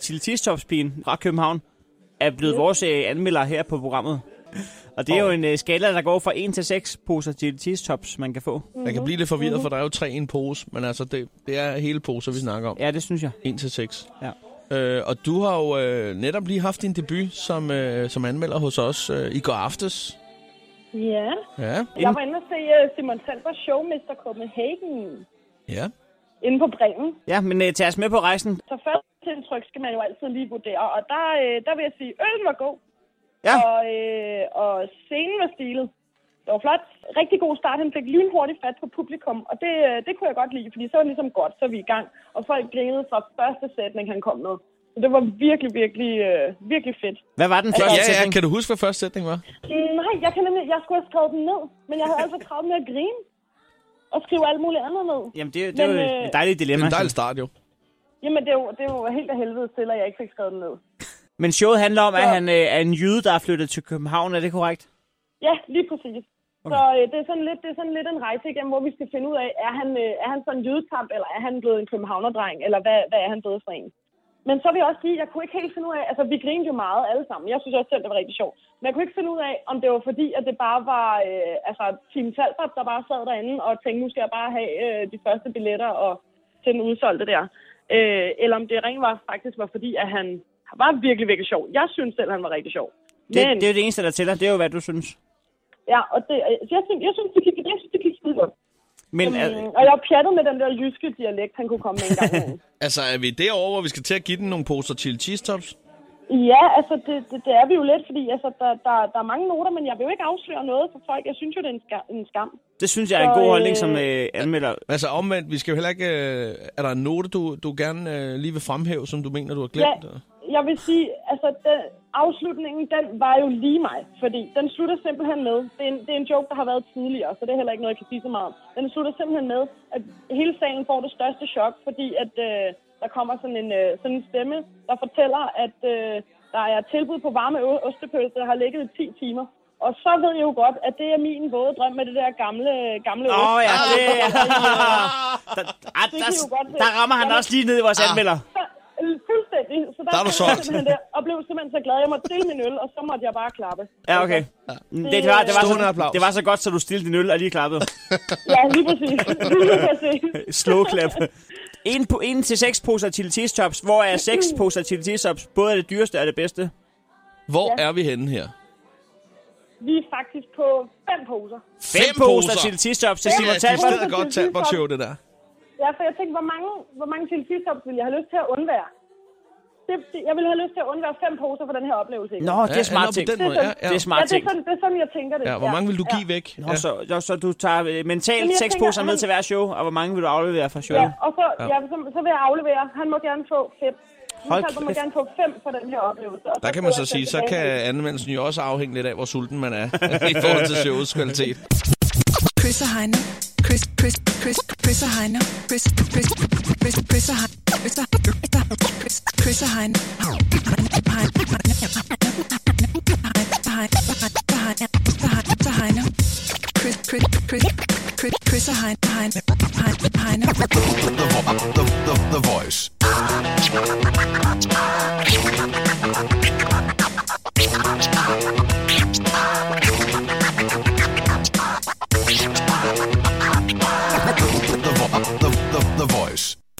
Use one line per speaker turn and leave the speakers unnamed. Tilly Tistopspigen fra København er blevet vores øh, anmelder her på programmet. Og det er jo en øh, skala, der går fra 1 til 6 poser Chili Cheese Tops, man kan få.
Jeg kan blive lidt forvirret, for der er jo tre i en pose, men altså, det, det er hele poser, vi snakker om.
Ja, det synes jeg.
1 til 6.
Ja.
Øh, og du har jo øh, netop lige haft din debut som, øh, som anmelder hos os øh, i går aftes.
Ja.
Ja,
Jeg var inde og se øh, Simon Talbers show, Mr. Copenhagen,
ja.
inde på Bremen.
Ja, men øh, tag os med på rejsen.
Så første indtryk skal man jo altid lige vurdere, og der, øh, der vil jeg sige, øllen var god,
Ja,
og, øh, og scenen var stilet. Det var flot. Rigtig god start. Han fik lynhurtigt fat på publikum, og det, øh, det kunne jeg godt lide, fordi så var det ligesom godt, så er vi i gang. Og folk grinede fra første sætning, han kom med. Så det var virkelig, virkelig, øh, virkelig fedt.
hvad var den
Ja,
første
ja, ja,
sætning?
kan du huske, hvad første sætning var?
Nej, jeg, kan nemlig, jeg skulle have skrevet den ned, men jeg havde altså travlt med at grine og skrive alt muligt andet ned.
Jamen, det, det er
Men,
jo
øh,
et dejligt
Det
dilemma.
er en dejlig start, jo.
Jamen, det er jo, det er jo helt af helvede til, at jeg ikke fik skrevet den ned.
Men showet handler om, at
Ja.
han øh, er en jøde, der er flyttet til København. Er det korrekt?
Ja, lige præcis. Okay. Så øh, det, er sådan lidt, det er sådan lidt en rejse igennem, hvor vi skal finde ud af, er han, øh, er han sådan en jødekamp, eller er han blevet en københavnerdreng, eller hvad, hvad er han blevet for en? Men så vil jeg også sige, jeg kunne ikke helt finde ud af, altså vi grinede jo meget alle sammen, jeg synes også selv, det var rigtig sjovt, men jeg kunne ikke finde ud af, om det var fordi, at det bare var, øh, altså Team Talbot, der bare sad derinde og tænkte, nu skal jeg bare have øh, de første billetter og til den udsolgte der. Øh, eller om det rent var, faktisk var fordi, at han var virkelig, virkelig sjov. Jeg synes selv, han var rigtig sjov.
Det, det er jo det eneste, der tæller. Det er jo, hvad du synes.
Ja, og det, øh, jeg, synes, jeg synes, det gik, jeg synes, det gik skide godt.
Men er,
Mm, og jeg var pjattet med den der jyske dialekt, han kunne komme med en gang. imellem.
Altså, er vi derovre, hvor vi skal til at give den nogle poser chili cheese tops?
ja, altså, det, det, det, er vi jo lidt, fordi altså, der, der, der er mange noter, men jeg vil jo ikke afsløre noget for folk. Jeg synes jo, det er en, ska- en skam.
det synes jeg er en
så,
god
øh,
holdning som øh, anmelder.
Altså omvendt, vi skal jo heller ikke... Øh, er der en note, du, du gerne øh, lige vil fremhæve, som du mener, du har
Ja,
glemt? Ja.
jeg vil sige, altså, den, afslutningen, den var jo lige mig, fordi den slutter simpelthen med, det er, en, det er en joke, der har været tidligere, så det er heller ikke noget, jeg kan sige så meget om. Den slutter simpelthen med, at hele salen får det største chok, fordi at øh, der kommer sådan en, øh, sådan en stemme, der fortæller, at øh, der er tilbud på varme ø- ostepølse, der har ligget i 10 timer. Og så ved jeg jo godt, at det er min våde drøm med det der gamle, gamle
Åh oh, ja, det... Der, ah,
Det
der,
kan jo godt være.
der rammer han
Jamen- Ah.
også lige ned i vores anmelder.
Øh, Fuldstændig. Så der,
Der er du
kom
solgt.
jeg simpelthen der, og blev simpelthen så glad. Jeg måtte dele min øl, og så måtte jeg bare klappe.
Ja, okay. Det, det, var, det, var
Stående
så,
applaus.
det var så godt, så du stillede din øl og lige klappede.
Ja, lige præcis. Lige præcis.
Slow clap. En, på, en til seks poser til cheese tops, hvor er seks
Mm.
poser til cheese tops både er det dyreste og det bedste.
Hvor
Ja.
er vi henne her?
Vi er faktisk på fem poser.
Fem poser til cheese tops til
Det
Simon
er et
Talbot.
stedet godt talbot show, det der.
Ja, for jeg tænkte, hvor mange, hvor mange tilfældestops ville jeg have lyst til at undvære? Det, det, jeg ville have lyst til at undvære fem poser for den her oplevelse. ikke?
Nå, det er
Ja,
smart
nå, på
ting.
den måde, ja, ja.
Det er
ja,
smart
det,
ting.
er sådan, det er sådan, jeg tænker det.
Ja, hvor mange vil du give væk?
Nå, så, så, så du tager øh, mentalt
Jamen, jeg
seks
tænker,
poser med
han-
til hver show, og hvor mange vil du aflevere fra showet?
Ja, og så, ja. så, så vil jeg aflevere. Han må gerne få fem.
Hold
Hold må
kæft.
gerne få fem for den her oplevelse. og
Der kan man
sidder
så
jeg
sige, så
tilbage
kan
med-
anmeldelsen jo også afhænge lidt af, hvor sulten man er i forhold til showets kvalitet.
Chris og Heino. Chris, Chris, Chris, Chris og Heino. Chris, Chris, Chris, Chris og Heino. Chris, og- Chris, Chris og Heino. Heino, Heino, Heino, Heino, Heino. Chris, Chris, Chris, Chris, Chris og Heino. Heino, Heino, Heino.